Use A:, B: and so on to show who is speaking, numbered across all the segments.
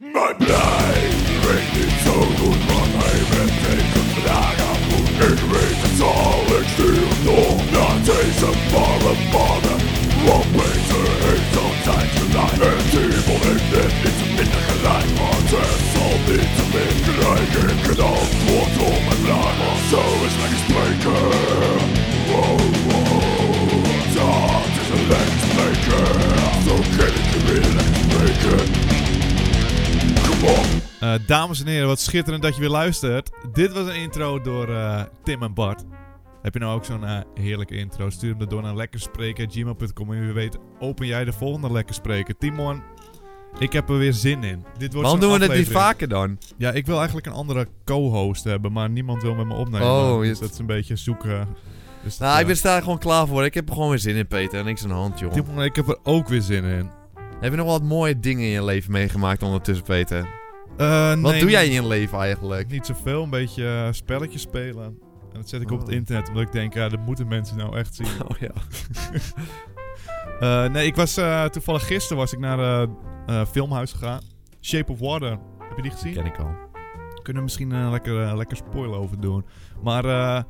A: my blade. Bring me so good, but I have taken black and wounded with the solid steel. No, not is a father, father. One way to hate, sometimes you lie. And evil in them is a midnight light. My death, all needs a big like it could all fall to my blood. My soul is like a speaker. Whoa, whoa. Dark is a lens maker. So can it be a lens maker? Come on.
B: Eh, dames en heren, wat schitterend dat je weer luistert. Dit was een intro door eh, Tim en Bart. Heb je nou ook zo'n eh, heerlijke intro? Stuur hem dan door naar lekkerspreken.gmail.com en wie weet open jij de volgende lekkerspreker. Timon, ik heb er weer zin in. Dit wordt
C: Waarom
B: zo'n
C: doen we dat niet
B: aflevering.
C: vaker dan?
B: Ja, ik wil eigenlijk een andere co-host hebben, maar niemand wil met me opnemen.
C: Oh,
B: dus
C: je-
B: dat is een beetje zoeken. Dus dat,
C: Nou, ik
B: eh,
C: ben sta er gewoon klaar voor. Ik heb er gewoon weer zin in, Peter. Niks aan de hand, joh.
B: Timon, ik heb er ook weer zin in.
C: Heb je nog wat mooie dingen in je leven meegemaakt ondertussen, Peter?
B: Eh,
C: Wat
B: nee,
C: doe jij in je leven eigenlijk?
B: Niet zoveel, een beetje eh, spelletjes spelen. En dat zet ik op het
C: Oh.
B: internet, omdat ik denk, ja, dat moeten mensen nou echt zien.
C: Oh ja.
B: Eh, nee, ik was eh, toevallig gisteren was ik naar eh eh, filmhuis gegaan. Shape of Water. Heb je die gezien?
C: Ken ik al.
B: Kunnen we misschien een lekker, eh, lekker spoiler over doen. Maar eh,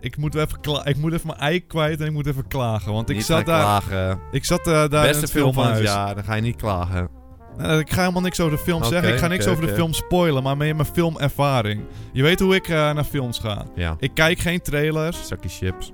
B: ik, moet wel even kla- ik moet even mijn ei kwijt en ik moet even klagen. Want ik
C: niet
B: zat
C: gaan
B: daar,
C: klagen.
B: ik zat, eh, daar in
C: Beste
B: het
C: film van
B: filmhuis.
C: het jaar, dan ga je niet klagen.
B: Nou, ik ga helemaal niks over de film
C: Oké,
B: zeggen. Ik ga niks
C: oké,
B: over de
C: oké.
B: film spoilen, maar meer mijn filmervaring. Je weet hoe ik eh, naar films ga.
C: Ja.
B: Ik kijk geen trailers,
C: Zakje chips.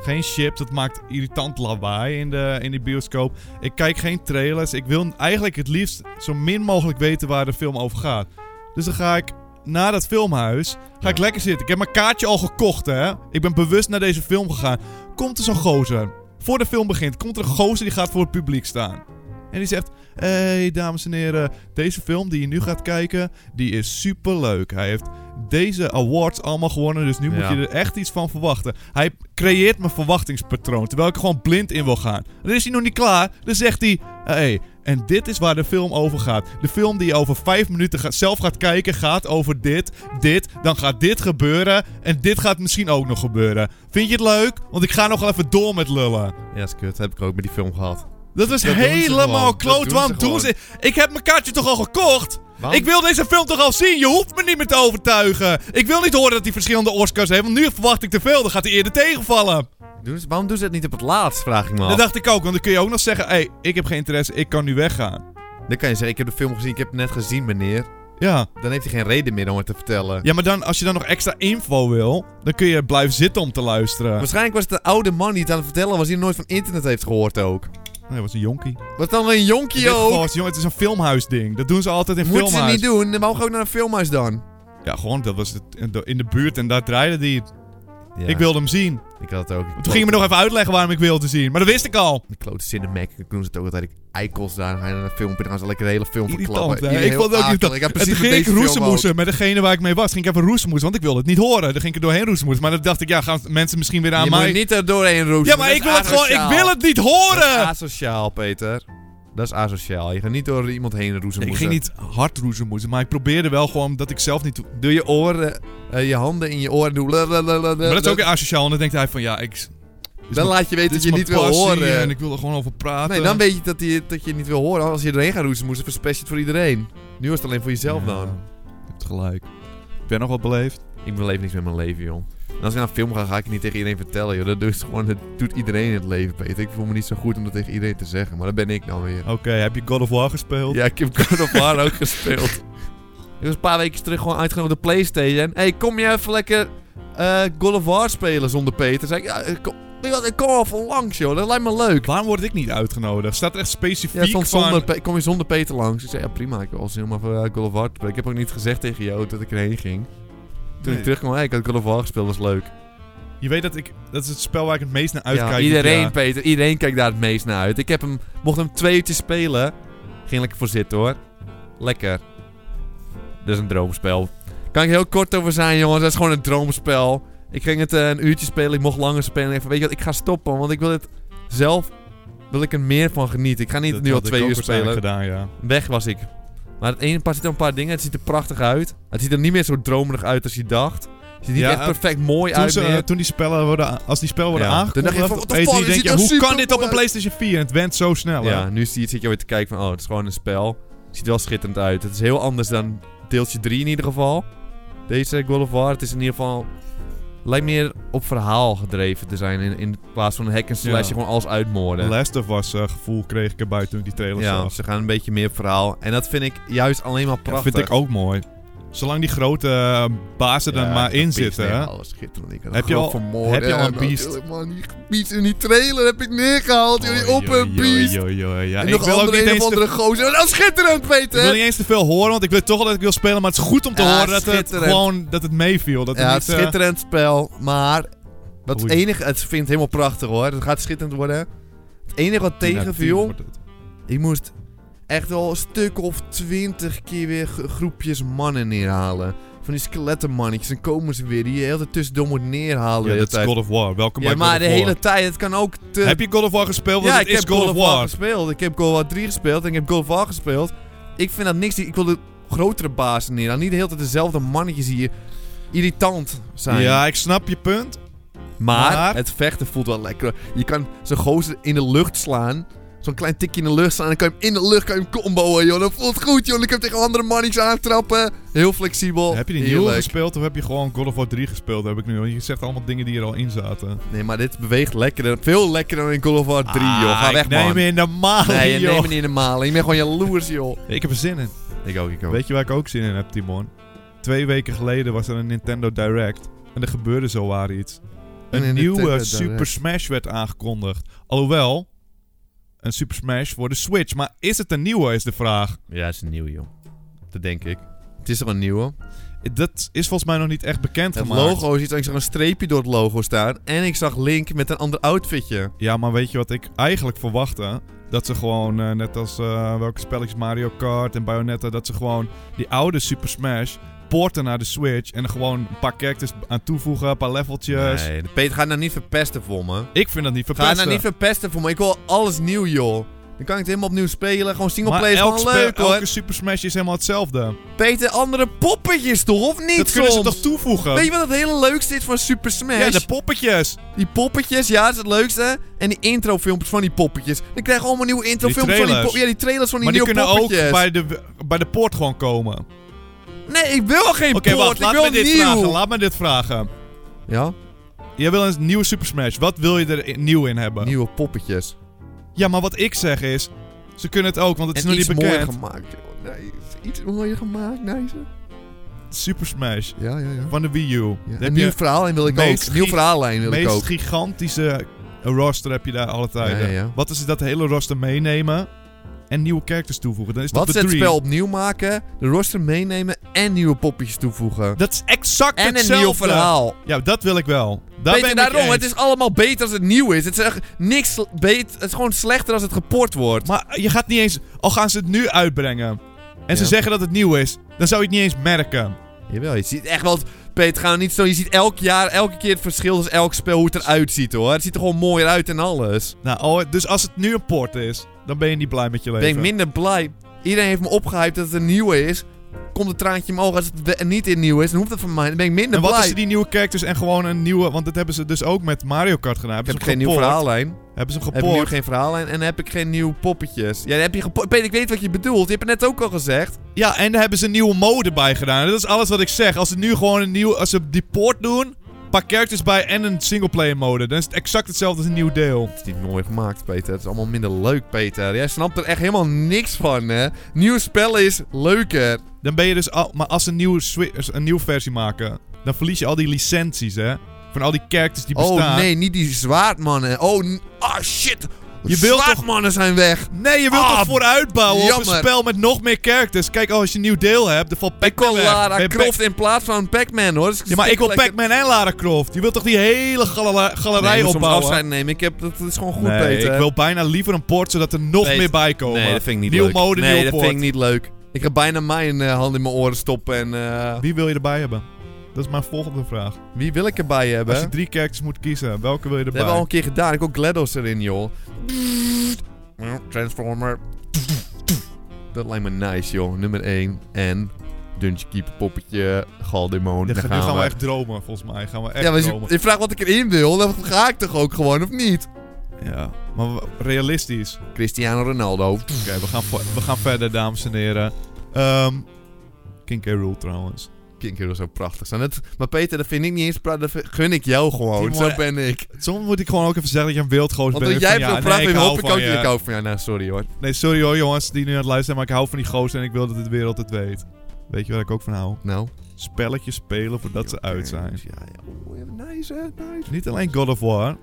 B: geen chips. Dat maakt irritant lawaai in de, in de bioscoop. Ik kijk geen trailers. Ik wil eigenlijk het liefst zo min mogelijk weten waar de film over gaat. Dus dan ga ik naar dat filmhuis. Ga
C: Ja.
B: ik lekker zitten. Ik heb mijn kaartje al gekocht, hè. Ik ben bewust naar deze film gegaan. Komt er zo'n gozer. Voor de film begint, komt er een gozer die gaat voor het publiek staan. En die zegt... Hé, hey, dames en heren. Deze film die je nu gaat kijken, die is superleuk. Hij heeft deze awards allemaal gewonnen, dus nu
C: Ja.
B: moet je er echt iets van verwachten. Hij creëert mijn verwachtingspatroon, terwijl ik er gewoon blind in wil gaan. Dan is hij nog niet klaar. Dan zegt hij... Hé, hey, en dit is waar de film over gaat. De film die je over vijf minuten ga- zelf gaat kijken, gaat over dit, dit. Dan gaat dit gebeuren. En dit gaat misschien ook nog gebeuren. Vind je het leuk? Want ik ga nog wel even door met lullen.
C: Ja, is kut. Heb ik ook met die film gehad.
B: Dat was
C: Dat doen ze
B: helemaal
C: gewoon. Dat
B: kloot.
C: doen
B: Waarom
C: ze
B: doen ze... Ik heb mijn kaartje toch al gekocht?
C: Waarom-
B: Ik wil deze film toch al zien? Je hoeft me niet meer te overtuigen. Ik wil niet horen dat hij verschillende Oscars heeft. Want nu verwacht ik te veel. Dan gaat hij eerder tegenvallen.
C: Doen ze- waarom doen ze het niet op het laatst, vraag ik me af.
B: Dat dacht ik ook. Want dan kun je ook nog zeggen... Hé, hey, ik heb geen interesse. Ik kan nu weggaan.
C: Dan kan je zeggen, ik heb de film gezien, ik heb het net gezien, meneer.
B: Ja.
C: Dan heeft hij geen reden meer om het te vertellen.
B: Ja, maar dan, als je dan nog extra info wil... Dan kun je blijven zitten om te luisteren.
C: Waarschijnlijk was het de oude man die het aan het vertellen was, die nooit van internet heeft gehoord ook.
B: Nee, dat was een jonkie.
C: Wat dan een
B: In
C: jonkie
B: dit geval
C: ook?
B: was het, jongen, het is een filmhuisding. Dat doen ze altijd in
C: Moeten ze
B: filmhuis.
C: niet doen, dan mogen we ook naar een filmhuis dan.
B: Ja, gewoon, dat was het in de- in de buurt en daar draaide die. het.
C: Ja,
B: Ik wilde hem zien. Maar
C: Ik had het ook. Ik
B: Toen ging je me nog even uitleggen waarom ik wilde zien. Maar dat wist ik al.
C: De klote Cinemac, ik doen ze het ook altijd. Ik Eikels daar, dan ga je naar een film, dan gaan ze lekker de hele film verklappen.
B: Irritant, hè?
C: Iedereen
B: Ik vond het ook
C: heel akelig.
B: irritant.
C: Ik heb
B: En toen
C: precies
B: ging
C: met
B: ik
C: deze film
B: roezemoesen met degene waar ik mee was. Ging ik even roezemoesen, want ik wilde het niet horen. Dan ging ik er doorheen roezemoesen. Maar dan dacht ik, ja, gaan mensen misschien weer
C: ook.
B: aan
C: Je
B: mij...
C: moet niet er doorheen roesten.
B: ja, maar ik wil het gewoon... Ik wil het niet
C: Dat is
B: horen!
C: asociaal, Peter. Dat is asociaal. Je gaat niet door iemand heen roezen.
B: Ik ging niet hard roezemoesen, maar ik probeerde wel gewoon dat ik zelf niet... Maar
C: Door je oren, eh, je handen in je oren doen. Maar
B: dat is ook asociaal. En dan denkt hij van, ja, ik...
C: Dan laat je weten
B: dit
C: dat
B: is
C: je
B: mijn
C: niet wil
B: passie eh.
C: horen.
B: En ik wil er gewoon over praten.
C: Nee, dan weet je dat, die, dat je het niet wil horen. Als je erheen gaat roesten, moest het verspest je het voor iedereen. Nu was het alleen voor jezelf
B: Ja,
C: dan.
B: Je hebt gelijk. Heb jij nog wat beleefd?
C: Ik beleef niks met mijn leven, joh. En als ik naar een film ga, ga ik het niet tegen iedereen vertellen, joh. Dat doet, gewoon, dat doet iedereen in het leven, Peter. Ik voel me niet zo goed om dat tegen iedereen te zeggen. Maar dat ben ik dan weer.
B: Oké, heb je God of War gespeeld?
C: Ja, ik heb God of War ook gespeeld. Ik was een paar weken terug gewoon uitgenodigd op de Playstation. Hé, hey, kom je even lekker eh God of War spelen zonder Peter? Zei ik, ja, eh, kom, weet je wat, ik kom al van langs, joh. Dat lijkt me leuk.
B: Waarom word ik niet uitgenodigd? Staat er echt specifiek
C: Ja, stond
B: van...
C: zonder, Pe- kom je zonder Peter langs? Ik zei, ja prima, ik wil zin om even eh, Call of War te spelen. Ik heb ook niet gezegd tegen jou dat ik erheen ging. Toen
B: Nee.
C: ik terugkwam, hey, ik had Call of War gespeeld, dat was leuk.
B: Je weet dat ik... Dat is het spel waar ik het meest naar uitkijk.
C: Ja,
B: dit
C: iedereen,
B: jaar.
C: Peter, iedereen kijkt daar het meest naar uit. Ik heb hem, mocht hem twee uurtjes spelen, ging lekker voor zitten hoor. Lekker. Dat is een droomspel. Kan ik heel kort over zijn jongens, dat is gewoon een droomspel. Ik ging het eh, een uurtje spelen, ik mocht langer spelen. Ik van, weet je wat, ik ga stoppen, want ik wil het zelf, wil ik er meer van genieten. Ik ga niet
B: Dat
C: nu al
B: had ik
C: twee
B: ook
C: uur
B: waarschijnlijk
C: spelen.
B: gedaan, ja.
C: Weg was ik. Maar het ene pas zit er een paar dingen. Het ziet er prachtig uit. Het ziet er niet meer zo dromerig uit als je dacht. Het ziet er
B: Ja,
C: niet echt perfect mooi
B: Toen,
C: uit
B: ze, eh,
C: meer.
B: toen die spellen worden, als die spellen worden
C: Ja. Toen
B: aangekondigd,
C: dacht je van, what the
B: weet
C: fuck,
B: je,
C: dit
B: denk
C: ziet
B: je,
C: er
B: hoe
C: super
B: kan dit op
C: cool
B: een
C: uit.
B: PlayStation 4? En het went zo snel. hè?
C: Ja, nu zie je, zit je weer te kijken van, oh, het is gewoon een spel. Ziet er wel schitterend uit. Het is heel anders dan deeltje 3 in ieder geval. Deze God of War. Het is in ieder geval... Lijkt meer op verhaal gedreven te zijn. In, in plaats van hack en slash
B: Ja.
C: gewoon alles uitmoorden.
B: Last of Us eh, gevoel kreeg ik erbij toen ik die trailer
C: Ja,
B: zag.
C: ze gaan een beetje meer op verhaal. En dat vind ik juist alleen maar
B: Dat
C: prachtig.
B: vind ik ook mooi. Zolang die grote eh, bazen er
C: Ja,
B: maar in
C: dat
B: zitten.
C: piece
B: hè.
C: nemen, alles schitterend. Ik had
B: Heb je
C: gewoon
B: al-
C: vermoord.
B: heb je al
C: Ja,
B: een beest?
C: natuurlijk, Man, die beest in die trailer heb ik neergehaald. Jullie op
B: Oei,
C: een
B: oei, oei,
C: beest.
B: oei, oei, ja.
C: En
B: Ik
C: nog
B: wil ook
C: andere
B: niet
C: een
B: eens
C: of andere
B: te-
C: gozer. Dat is schitterend,
B: ik wil
C: Peter.
B: niet eens te veel horen, want ik weet toch wel dat ik wil spelen. Maar het is goed om te
C: Ja,
B: horen dat het
C: schitterend.
B: gewoon dat het meeviel. Dat het
C: Ja,
B: niet, eh,
C: schitterend spel. Maar wat het
B: Oei.
C: enige... Het vindt helemaal prachtig hoor. Het gaat schitterend worden. Het enige wat
B: negatief
C: tegenviel...
B: wordt het.
C: Ik moest echt wel een stuk of twintig keer weer gro- groepjes mannen neerhalen. Van die skelettenmannetjes. Dan komen ze weer. Die je heel de tussendoor moet neerhalen. de
B: Ja,
C: hele
B: dat is
C: tijd.
B: God of War. Welkom
C: Ja,
B: bij
C: maar
B: God
C: de
B: of War.
C: hele tijd. Het kan ook te...
B: Heb je God of War gespeeld? Want
C: ja,
B: het
C: ik heb
B: is God of War.
C: gespeeld. Ik heb God of War 3 gespeeld en ik heb God of War gespeeld. Ik vind dat niks. Ik wil de grotere bazen neer. Niet de hele tijd dezelfde mannetjes hier irritant zijn.
B: Ja, ik snap je punt.
C: maar,
B: maar-
C: het vechten voelt wel lekker. Je kan zo'n gozer in de lucht slaan. Zo'n klein tikje in de lucht slaan. Dan kan je hem in de lucht kan je hem comboen, joh. Dat voelt goed, joh. Dan kan je hem tegen andere mannetjes aantrappen. Heel flexibel.
B: Heb je die nieuwe
C: Oh, Heerlijk.
B: gespeeld of heb je gewoon God of War 3 gespeeld? Heb ik nu. want Je zegt allemaal dingen die er al in zaten.
C: Nee, maar dit beweegt lekkerder. Veel lekkerder dan in God of War 3, joh. Ga
B: Ah,
C: weg,
B: ik
C: man.
B: Neem me in de maal,
C: nee, je
B: joh.
C: neemt me niet in de malen. Je bent gewoon jaloers, joh.
B: Ik heb er zin in.
C: Ik ook, ik ook.
B: Weet je waar ik ook zin in heb, Timon? Twee weken geleden was er een Nintendo Direct. En er gebeurde zowaar iets. Een,
C: Een
B: nieuwe
C: Nintendo
B: Super
C: Direct.
B: Smash werd aangekondigd. Alhoewel, een Super Smash voor de Switch. Maar is het een nieuwe, is de vraag.
C: Ja, het is een nieuwe, joh. Dat denk ik. Het is toch een nieuwe?
B: Dat is volgens mij nog niet echt bekend
C: Het
B: gemaakt.
C: logo is iets, ik zag een streepje door het logo staan. En ik zag Link met een ander outfitje.
B: Ja, maar weet je wat ik eigenlijk verwachtte? Dat ze gewoon, eh, net als eh, welke spelletjes Mario Kart en Bayonetta... dat ze gewoon die oude Super Smash porten naar de Switch... en er gewoon een paar characters aan toevoegen, een paar leveltjes.
C: Nee, Peter, ga nou niet verpesten voor me.
B: Ik vind dat niet
C: Ga
B: verpesten.
C: nou niet verpesten voor me. Ik wil alles nieuw, joh. Dan kan ik het helemaal opnieuw spelen. Gewoon
B: maar
C: singleplayer is
B: elk
C: gewoon
B: spe-
C: leuk, hoor.
B: elke Super Smash is helemaal hetzelfde.
C: Peter, andere poppetjes toch, of niet
B: dat kunnen ze
C: soms?
B: toch toevoegen?
C: Weet je wat het hele leukste is van Super Smash?
B: ja, de poppetjes.
C: Die poppetjes, ja, dat is het leukste. En die introfilmpjes van die poppetjes. Dan krijg je allemaal nieuwe introfilmpjes van die
B: trailers.
C: poppetjes. Ja, die trailers van die
B: maar die
C: nieuwe
B: kunnen
C: poppetjes.
B: ook bij de, bij de poort gewoon komen. Oké,
C: Nee, ik wil geen poort.
B: wacht, laat
C: ik
B: me
C: wil
B: dit
C: nieuw.
B: vragen. Laat me dit vragen.
C: Ja?
B: Jij wil een nieuwe Super Smash. Wat wil je er i- nieuw in hebben?
C: Nieuwe poppetjes.
B: Ja, maar wat ik zeg is... Ze kunnen het ook, want het is
C: en
B: nog
C: iets
B: niet bekend.
C: mooier gemaakt. joh. Nee, is iets mooier gemaakt, Nijzer.
B: Super Smash
C: Ja, ja, ja.
B: van de Wii U.
C: ja.
B: Daar
C: Een
B: heb
C: nieuw
B: je
C: verhaallijn wil ik
B: meest
C: ook. Nieuw
B: gie-
C: verhaallijn
B: de
C: wil ik
B: meest
C: ook.
B: gigantische roster heb je daar alle tijden.
C: Ja, ja.
B: Wat is dat hele roster meenemen en nieuwe characters toevoegen? Dan is
C: Wat
B: dat
C: is
B: de
C: het
B: dream.
C: spel opnieuw maken, de roster meenemen en nieuwe poppetjes toevoegen.
B: Dat is exact
C: En een
B: hetzelfde.
C: nieuw verhaal.
B: Ja, dat wil ik wel. Daar ben
C: Peter,
B: ik
C: daarom,
B: eens.
C: het is allemaal beter als het nieuw is. Het is echt niks beter. Het is gewoon slechter als het geport wordt.
B: Maar je gaat niet eens... Al gaan ze het nu uitbrengen. En ze
C: Ja.
B: zeggen dat het nieuw is. Dan zou je het niet eens merken.
C: Jawel, je ziet echt wel... het- Peter, ga niet zo... Je ziet elk jaar, elke keer het verschil tussen elk spel hoe het eruit ziet, hoor. Het ziet er gewoon mooier uit en alles.
B: Nou, oh, dus als het nu een port is, dan ben je niet blij met je
C: Ben ik
B: leven.
C: minder blij. Iedereen heeft me opgehyped dat het een nieuwe is. Komt een traantje omhoog als het we- niet in nieuw is. Dan hoeft het van mij. Dan ben ik minder
B: en wat
C: blij.
B: als ze die nieuwe characters en gewoon een nieuwe... Want dat hebben ze dus ook met Mario Kart gedaan.
C: Ik
B: Hebben
C: heb
B: ze
C: geen
B: hem
C: nieuw
B: geport.
C: verhaallijn.
B: Hebben ze hem
C: Heb ik nu
B: geport.
C: geen verhaallijn en heb ik geen nieuwe poppetjes. Ja, dan heb je gepo- Peter, ik weet wat je bedoelt. Je hebt het net ook al gezegd.
B: Ja, en daar hebben ze een nieuwe mode bij gedaan. Dat is alles wat ik zeg. Als ze nu gewoon een nieuw... Als ze die port doen, een paar characters bij en een singleplayer mode. Dan is het exact hetzelfde als een nieuw deel.
C: Het is niet mooi gemaakt, Peter. Het is allemaal minder leuk, Peter. Jij snapt er echt helemaal niks van, hè. Nieuw spel is leuker.
B: Dan ben je dus al. Maar als ze een nieuwe, swi- een nieuwe versie maken, dan verlies je al die licenties, hè? Van al die characters die bestaan.
C: Oh nee, niet die zwaardmannen. Oh, n- ah shit.
B: Je
C: Je
B: wilt
C: zwaardmannen zijn weg.
B: Nee, je wilt
C: Ah,
B: toch vooruit bouwen op een
C: jammer.
B: spel met nog meer characters? Kijk, oh, als je een nieuw deel hebt, dan valt
C: Ik
B: Pac-Man
C: wil
B: weg.
C: Lara
B: Ben je
C: Croft
B: Pac-
C: in plaats van Pac-Man hoor. Dus
B: Ja, maar ik wil
C: lekker-
B: Pac-Man en Lara Croft. Je wilt toch die hele galera- galerij
C: Nee, je moet soms
B: opbouwen?
C: afscheid nemen. Ik heb, dat, dat is gewoon goed,
B: nee,
C: Peter.
B: ik wil bijna liever een port, zodat er nog
C: Peter,
B: meer bij komen.
C: Nee, dat vind ik niet
B: Nieuw
C: leuk.
B: mode,
C: nee,
B: nieuw
C: dat
B: port.
C: vind ik niet leuk. Ik ga bijna mijn eh, hand in mijn oren stoppen en... eh,
B: Wie wil je erbij hebben? Dat is mijn volgende vraag.
C: wie wil ik erbij hebben?
B: Als je drie characters moet kiezen, welke wil je erbij?
C: Dat hebben we al een keer gedaan. Ik ook GLaDOS erin, joh. Transformer. Dat lijkt me nice, joh. Nummer 1. En... Dungeon Keeper poppetje. Galdemon.
B: Nu
C: daar
B: gaan,
C: gaan
B: we echt dromen, volgens mij. Gaan we echt
C: ja, maar als
B: dromen.
C: je, je vraagt wat ik erin wil, dan ga ik toch ook gewoon, of niet?
B: Ja. Maar w- realistisch.
C: Cristiano Ronaldo.
B: Oké, we, gaan vo- we gaan verder, dames en heren. Ehm King K. Rule trouwens.
C: Kinkerdoe zou prachtig zijn. Dat, maar Peter, dat vind ik niet eens prachtig. Dat gun ik jou gewoon.
B: Timor,
C: Zo ben ik.
B: Soms moet ik gewoon ook even zeggen dat je een wildgoos bent.
C: Want jij hebt
B: Van, ja,
C: zo'n prachtig
B: nee, ik hou
C: hoofdje.
B: van je.
C: Ik ook van ja, nou sorry hoor.
B: Nee, sorry hoor jongens die nu aan het luisteren zijn, maar ik hou van die gozer en ik wil dat de wereld het weet. Weet je waar ik ook van hou?
C: Nou.
B: Spelletjes spelen voordat ze uit zijn.
C: Ja, ja. Oeh, Nice hè, nice.
B: Niet alleen God of War.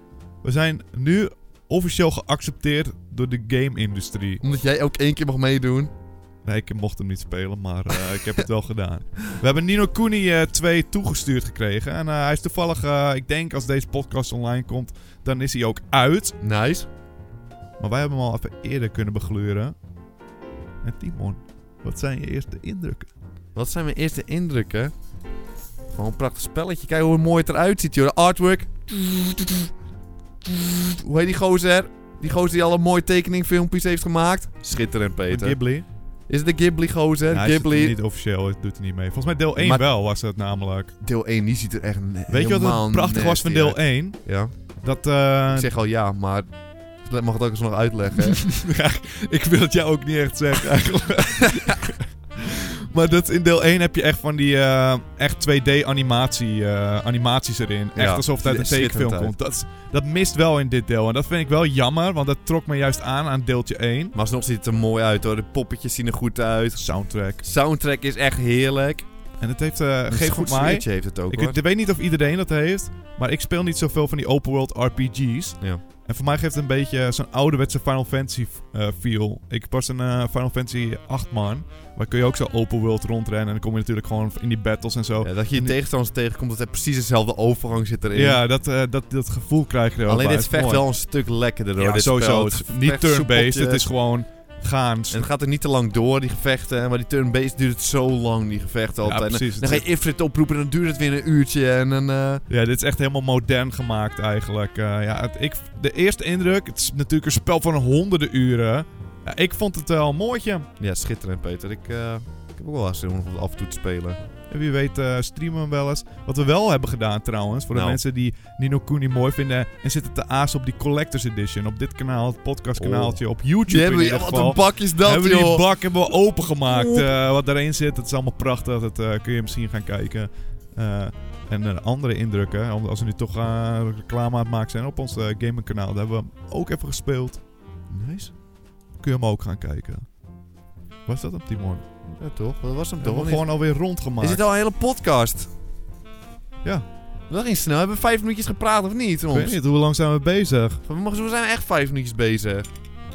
B: We zijn nu officieel geaccepteerd door de game-industrie.
C: Omdat jij ook één keer mag meedoen.
B: Nee, ik mocht hem niet spelen, maar eh, ik heb het wel gedaan. We hebben Nino Kuni eh, 2 toegestuurd gekregen. En eh, hij is toevallig, eh, ik denk als deze podcast online komt, dan is hij ook uit.
C: Nice.
B: Maar wij hebben hem al even eerder kunnen begluren. En Timon, wat zijn je eerste indrukken?
C: Wat zijn mijn eerste indrukken? Gewoon een prachtig spelletje. Kijk hoe mooi het eruit ziet, joh. De artwork. Hoe heet die gozer? Die gozer die alle mooie tekeningfilmpjes heeft gemaakt. Schitterend, Peter.
B: Ghibli?
C: Is het de Ghibli-gozer?
B: Ja, hij zit
C: Ghibli.
B: niet officieel, hij doet hij niet mee. Volgens mij deel 1
C: Maar-
B: wel was het namelijk.
C: Deel 1, die ziet er echt ne-
B: Weet je wat
C: helemaal
B: het prachtig was van
C: nasty
B: deel 1?
C: uit. Ja,
B: Dat, eh,
C: ik zeg al ja, maar... Mag ik het ook eens nog uitleggen?
B: Ja, ik wil het jou ook niet echt zeggen eigenlijk. maar dat in deel 1 heb je echt van die eh, echt 2D animatie, eh, animaties erin. Echt
C: Ja,
B: alsof het uit een
C: ziet er
B: tekenfilm
C: schitterend
B: komt. Dat, is- dat mist wel in dit deel. En dat vind ik wel jammer, want dat trok me juist aan aan deeltje 1.
C: maar alsnog ziet het er mooi uit, hoor. De poppetjes zien er goed uit.
B: Soundtrack.
C: Soundtrack is echt heerlijk.
B: En het heeft, eh
C: Een
B: geef
C: goed
B: goed mij...
C: sfeertje heeft het ook,
B: Ik,
C: hoor.
B: weet- ik weet niet of iedereen dat heeft, maar ik speel niet zoveel van die open world RPG's.
C: Ja.
B: En voor mij geeft het een beetje zo'n ouderwetse Final Fantasy eh, feel. Ik was een eh, Final Fantasy 8 man, waar kun je ook zo open world rondrennen en dan kom je natuurlijk gewoon in die battles en zo.
C: Ja, dat je je
B: oh. En die-
C: tegenstanders tegenkomt, dat er precies dezelfde overgang zit erin.
B: Ja, dat, eh, dat, dat gevoel krijg je er wel
C: Alleen
B: bij.
C: dit
B: Het is
C: vecht
B: mooi.
C: wel een stuk lekkerder hoor.
B: Ja,
C: dit spel.
B: sowieso. Het is
C: Het
B: niet
C: vecht
B: turn-based,
C: soepeltjes.
B: het is gewoon gaan.
C: En het gaat er niet te lang door, die gevechten. Maar die turn-based duurt het zo lang, die gevechten
B: Ja,
C: altijd. En
B: precies.
C: dan ga je Ifrit oproepen en dan duurt het weer een uurtje. En dan... eh,
B: Ja, dit is echt helemaal modern gemaakt eigenlijk. Eh, ja, het- ik, de eerste indruk, het is natuurlijk een spel van honderden uren. Ja, ik vond het wel een mooitje.
C: Ja, schitterend Peter. Ik, eh, ik heb ook wel zin om het af en toe te spelen.
B: En wie weet eh, streamen we hem wel eens. Wat we wel hebben gedaan trouwens, voor de
C: Nou.
B: mensen die Nino Kuni mooi vinden... en zitten te aas op die Collectors Edition. Op dit kanaal, het podcastkanaaltje, op YouTube
C: Die hebben
B: in
C: we,
B: ieder
C: wat
B: geval.
C: een bak is dat
B: hebben we die
C: joh.
B: bak hebben we opengemaakt.
C: Oep.
B: eh wat daarin zit, dat is allemaal prachtig. Dat eh, kun je misschien gaan kijken. Eh, en eh, andere indrukken, om- als we nu toch eh, reclame aan het maken zijn op ons eh, gamingkanaal. Daar hebben we hem ook even gespeeld.
C: Nice.
B: Kun je hem ook gaan kijken. Was dat hem, Timon?
C: Ja toch, dat was hem
B: Hebben
C: toch.
B: we
C: Is-
B: gewoon alweer rondgemaakt.
C: Is dit al een hele podcast?
B: Ja.
C: Dat ging snel. Hebben we vijf minuutjes gepraat of niet?
B: Ik weet
C: Soms?
B: niet, hoe lang zijn we bezig?
C: We zijn echt vijf minuutjes bezig.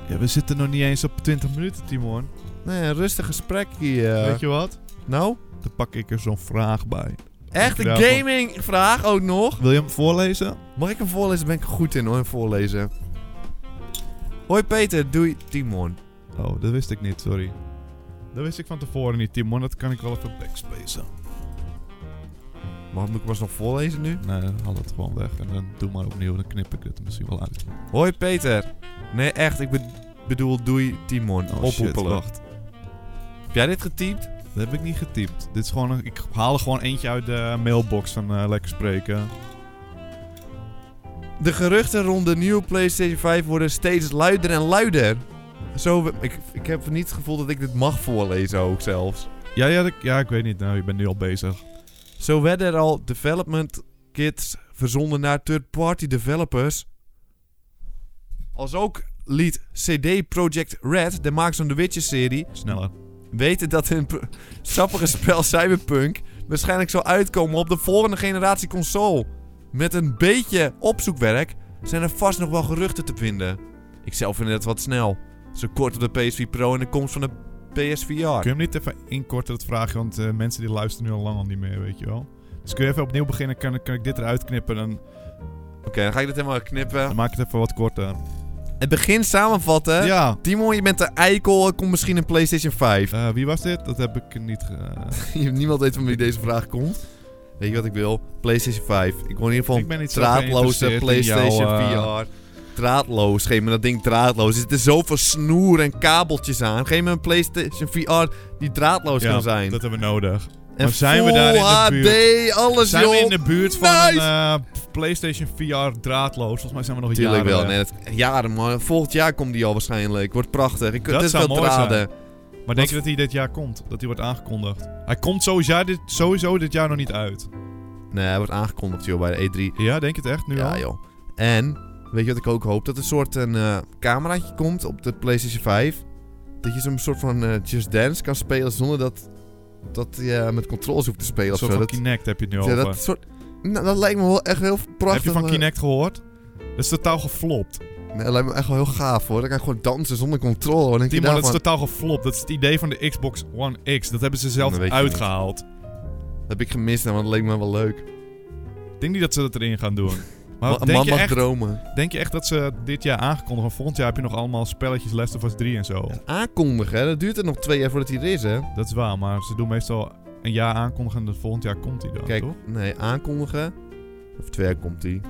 B: Ja, we zitten nog niet eens op 20 minuten, Timon.
C: Nee, een rustig gesprek hier.
B: Weet je wat?
C: Nou,
B: Dan pak ik er zo'n vraag bij.
C: echt een
B: Dankjewel.
C: gamingvraag ook nog.
B: Wil je hem voorlezen?
C: Mag ik hem voorlezen? Ben ik er goed in hoor, in voorlezen. Hoi Peter, doei Timon.
B: Oh, dat wist ik niet, sorry. Dat wist ik van tevoren niet, Timon. Dat kan ik wel even backspacen.
C: Mag moet ik hem alsnog voorlezen nu?
B: Nee, dan haal het gewoon weg en dan doe maar opnieuw. Dan knip ik het er misschien wel uit.
C: Hoi Peter. Nee, echt, ik be- bedoel doei Timon.
B: Oh, shit,
C: Ophoepelen.
B: wacht.
C: Heb jij dit getypt?
B: Dat heb ik niet getypt. Dit is gewoon een, ik haal er gewoon eentje uit de mailbox van eh, Lekker Spreken.
C: De geruchten rond de nieuwe PlayStation 5 worden steeds luider en luider. Zo, we- ik, ik heb niet het gevoel dat ik dit mag voorlezen ook zelfs.
B: Ja, ja, dat- ja, ik weet niet. Nou, je bent nu al bezig.
C: Zo werden er al development kits verzonden naar third-party developers. Als ook liet CD Projekt Red, de makers van de Witcher-serie,
B: Sneller.
C: weten dat hun pr- sappige spel Cyberpunk waarschijnlijk zal uitkomen op de volgende generatie console. Met een beetje opzoekwerk zijn er vast nog wel geruchten te vinden. Ik zelf vind het wat snel. Zo kort op de PS4 Pro en de komst van de PSVR.
B: Kun je hem niet even inkorten, dat vraagje? Want eh, mensen die luisteren nu al lang al niet meer, weet je wel. Dus kun je even opnieuw beginnen? Kan, kan ik dit eruit knippen? Dan,
C: Oké, dan ga ik dit helemaal knippen.
B: dan maak ik het even wat korter.
C: Het begin samenvatten.
B: Ja.
C: Timon, je bent de eikel. Er komt misschien een PlayStation 5.
B: Eh, wie was dit? Dat heb ik niet... ge-
C: Niemand weet van wie deze vraag komt. Weet je wat ik wil? PlayStation 5. Ik wil in ieder geval
B: Ik ben
C: een
B: niet zo
C: draadloze
B: geïnteresseerd in
C: PlayStation
B: jouw, eh,
C: VR. Draadloos. Geef me dat ding draadloos. Er zitten zoveel snoer en kabeltjes aan. Geef me een PlayStation VR die draadloos kan zijn.
B: dat hebben we nodig.
C: en
B: maar zijn we daar in de
C: Full HD, alles
B: Zijn
C: joh.
B: we in de buurt van
C: Nice!
B: een eh, PlayStation VR draadloos. Volgens mij zijn we nog een jaar
C: Tuurlijk wel. Nee, dat, jaren, man. Volgend jaar komt die al waarschijnlijk. Wordt prachtig. Ik,
B: Dat
C: het is
B: zou
C: wel
B: mooi zijn.
C: draden.
B: Maar denk je dat hij dit jaar komt? Dat hij wordt aangekondigd? Hij komt sowieso dit, sowieso dit jaar nog niet uit.
C: Nee, hij wordt aangekondigd, joh, bij de E E3.
B: Ja, denk je het echt nu al?
C: Ja, joh. En, weet je wat ik ook hoop? Dat er een soort een, eh, cameraatje komt op de PlayStation 5. Dat je zo'n soort van eh, Just Dance kan spelen zonder dat, dat je eh, met controles hoeft te spelen.
B: Een
C: of
B: soort
C: zo.
B: van
C: Dat,
B: Kinect heb je het nu
C: ja,
B: over.
C: dat, soort, nou, dat lijkt me wel echt heel prachtig.
B: heb je van
C: eh,
B: Kinect gehoord? Dat is totaal geflopt.
C: Nee, dat lijkt me echt wel heel gaaf, hoor. Dan kan ik gewoon dansen zonder controle. Dan denk je
B: Timo, dat is
C: daarvan,
B: totaal geflopt. Dat is het idee van de Xbox One X. Dat hebben ze zelf
C: Dat weet je
B: uitgehaald.
C: dat heb ik gemist, nou, want dat leek me wel leuk.
B: Ik denk niet dat ze dat erin gaan doen. Maar
C: een man
B: denk je,
C: mag
B: echt,
C: dromen.
B: denk je echt dat ze dit jaar aangekondigd van volgend jaar heb je nog allemaal spelletjes Last of Us 3 en zo.
C: aankondigen. hè. Dat duurt er nog twee jaar voordat hij er is, hè?
B: Dat is waar, maar ze doen meestal een jaar aankondigen en dat volgend jaar komt hij dan,
C: Kijk,
B: toch?
C: nee, aankondigen. Of twee jaar komt hij.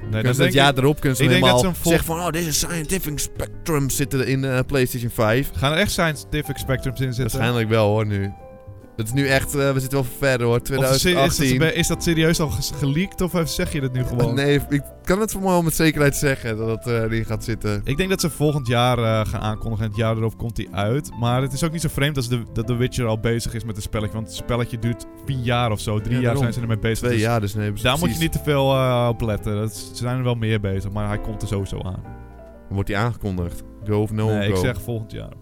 B: Nee,
C: kunnen ze
B: denk
C: dat
B: ik-
C: jaar erop kunnen ze
B: ik denk dat
C: helemaal
B: ze hem vol-
C: zeggen van... Oh, dit is Scientific Spectrum zitten in eh, PlayStation 5.
B: Gaan er echt scientific spectrums in zitten?
C: Waarschijnlijk wel, hoor, nu. Het is nu echt... eh, we zitten wel verder, hoor.
B: Of is, is, dat,
C: 2018.
B: ze- is dat serieus al ges- geleakt of zeg je dat nu gewoon?
C: Nee, ik kan het voor mij wel met zekerheid zeggen dat het eh, erin gaat zitten.
B: Ik denk dat ze volgend jaar eh, gaan aankondigen en het jaar erop komt hij uit. Maar het is ook niet zo vreemd als de, dat The Witcher al bezig is met het spelletje. Want het spelletje duurt 10 jaar of zo. Drie
C: Ja,
B: jaar
C: daarom.
B: zijn ze ermee bezig.
C: Twee
B: Dus
C: jaar, dus nee.
B: daar moet je
C: precies.
B: niet te veel eh, op letten. Dat is- ze zijn er wel meer bezig, maar hij komt er sowieso aan.
C: Wordt hij aangekondigd. Go of no
B: nee,
C: go.
B: ik zeg volgend jaar.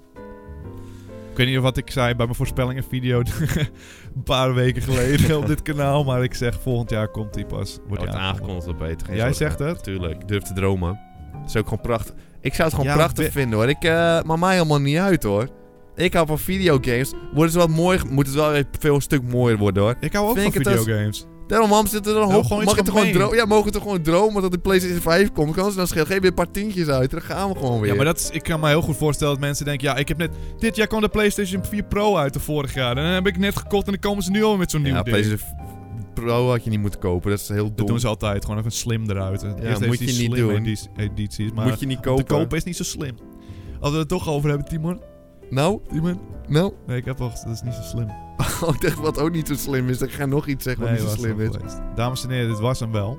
B: Ik weet niet of wat ik zei bij mijn voorspellingen video een paar weken geleden op dit kanaal. Maar ik zeg volgend jaar komt hij pas. Wordt
C: Oh,
B: hij aangekondigd.
C: dat beter.
B: Jij zegt het?
C: Natuurlijk, ik durf te dromen. Dat is ook gewoon prachtig. Ik zou het gewoon
B: Ja,
C: prachtig
B: we-
C: vinden hoor. Ik eh maakt mij helemaal niet uit hoor. Ik hou van videogames. Worden ze wat mooi, ge- moet het wel weer veel een stuk mooier worden hoor.
B: Ik hou ook
C: Vind
B: van
C: ik het als-
B: videogames.
C: Daarom mam, zitten er een
B: Nou,
C: hoop.
B: gewoon
C: Mag
B: iets
C: ik toch gewoon
B: gemeen.
C: dromen? Ja, mogen we toch gewoon dromen dat de PlayStation 5 komt? Kan ze dan schelen? Geef weer een paar tientjes uit. Dan gaan we gewoon weer.
B: Ja, maar dat is, ik kan me heel goed voorstellen dat mensen denken... Ja, ik heb net... Dit jaar kwam de PlayStation 4 Pro uit de vorig jaar. En dan heb ik net gekocht en dan komen ze nu al met zo'n
C: Ja,
B: nieuw ding.
C: PlayStation v- Pro had je niet moeten kopen. Dat is heel
B: Dat
C: dom.
B: doen ze altijd. Gewoon even slim eruit. Eerst
C: Ja,
B: heeft
C: moet
B: ze
C: je
B: die
C: niet
B: slim
C: doen.
B: edi- edities, maar
C: moet je niet
B: te
C: kopen.
B: kopen is niet zo slim. Als we het toch over hebben, Timon.
C: Nou,
B: Timon?
C: nou.
B: Nee, ik heb al... Dat is niet zo slim.
C: Oh, ik dacht wat ook niet zo slim is. Ik ga nog iets zeggen wat
B: nee,
C: niet zo
B: was
C: slim
B: wel
C: is.
B: geweest. Dames en heren, dit was hem wel.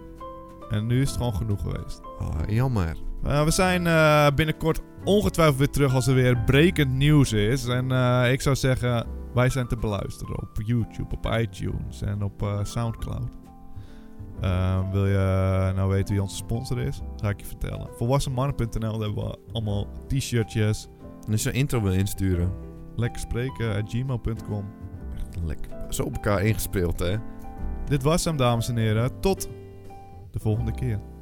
B: En nu is het gewoon genoeg geweest.
C: Oh, jammer.
B: Eh, we zijn eh, binnenkort ongetwijfeld weer terug als er weer brekend nieuws is. En eh, ik zou zeggen, wij zijn te beluisteren op YouTube, op iTunes en op eh, Soundcloud. Eh, wil je nou weten wie onze sponsor is? Ga ik je vertellen. Volwassenmannen.nl daar hebben we allemaal t-shirtjes.
C: Dus zo'n intro wil insturen.
B: Lekker spreken eh, at gmail.com.
C: Lekker. Zo op elkaar ingespeeld, hè?
B: Dit was hem, dames en heren. Tot de volgende keer.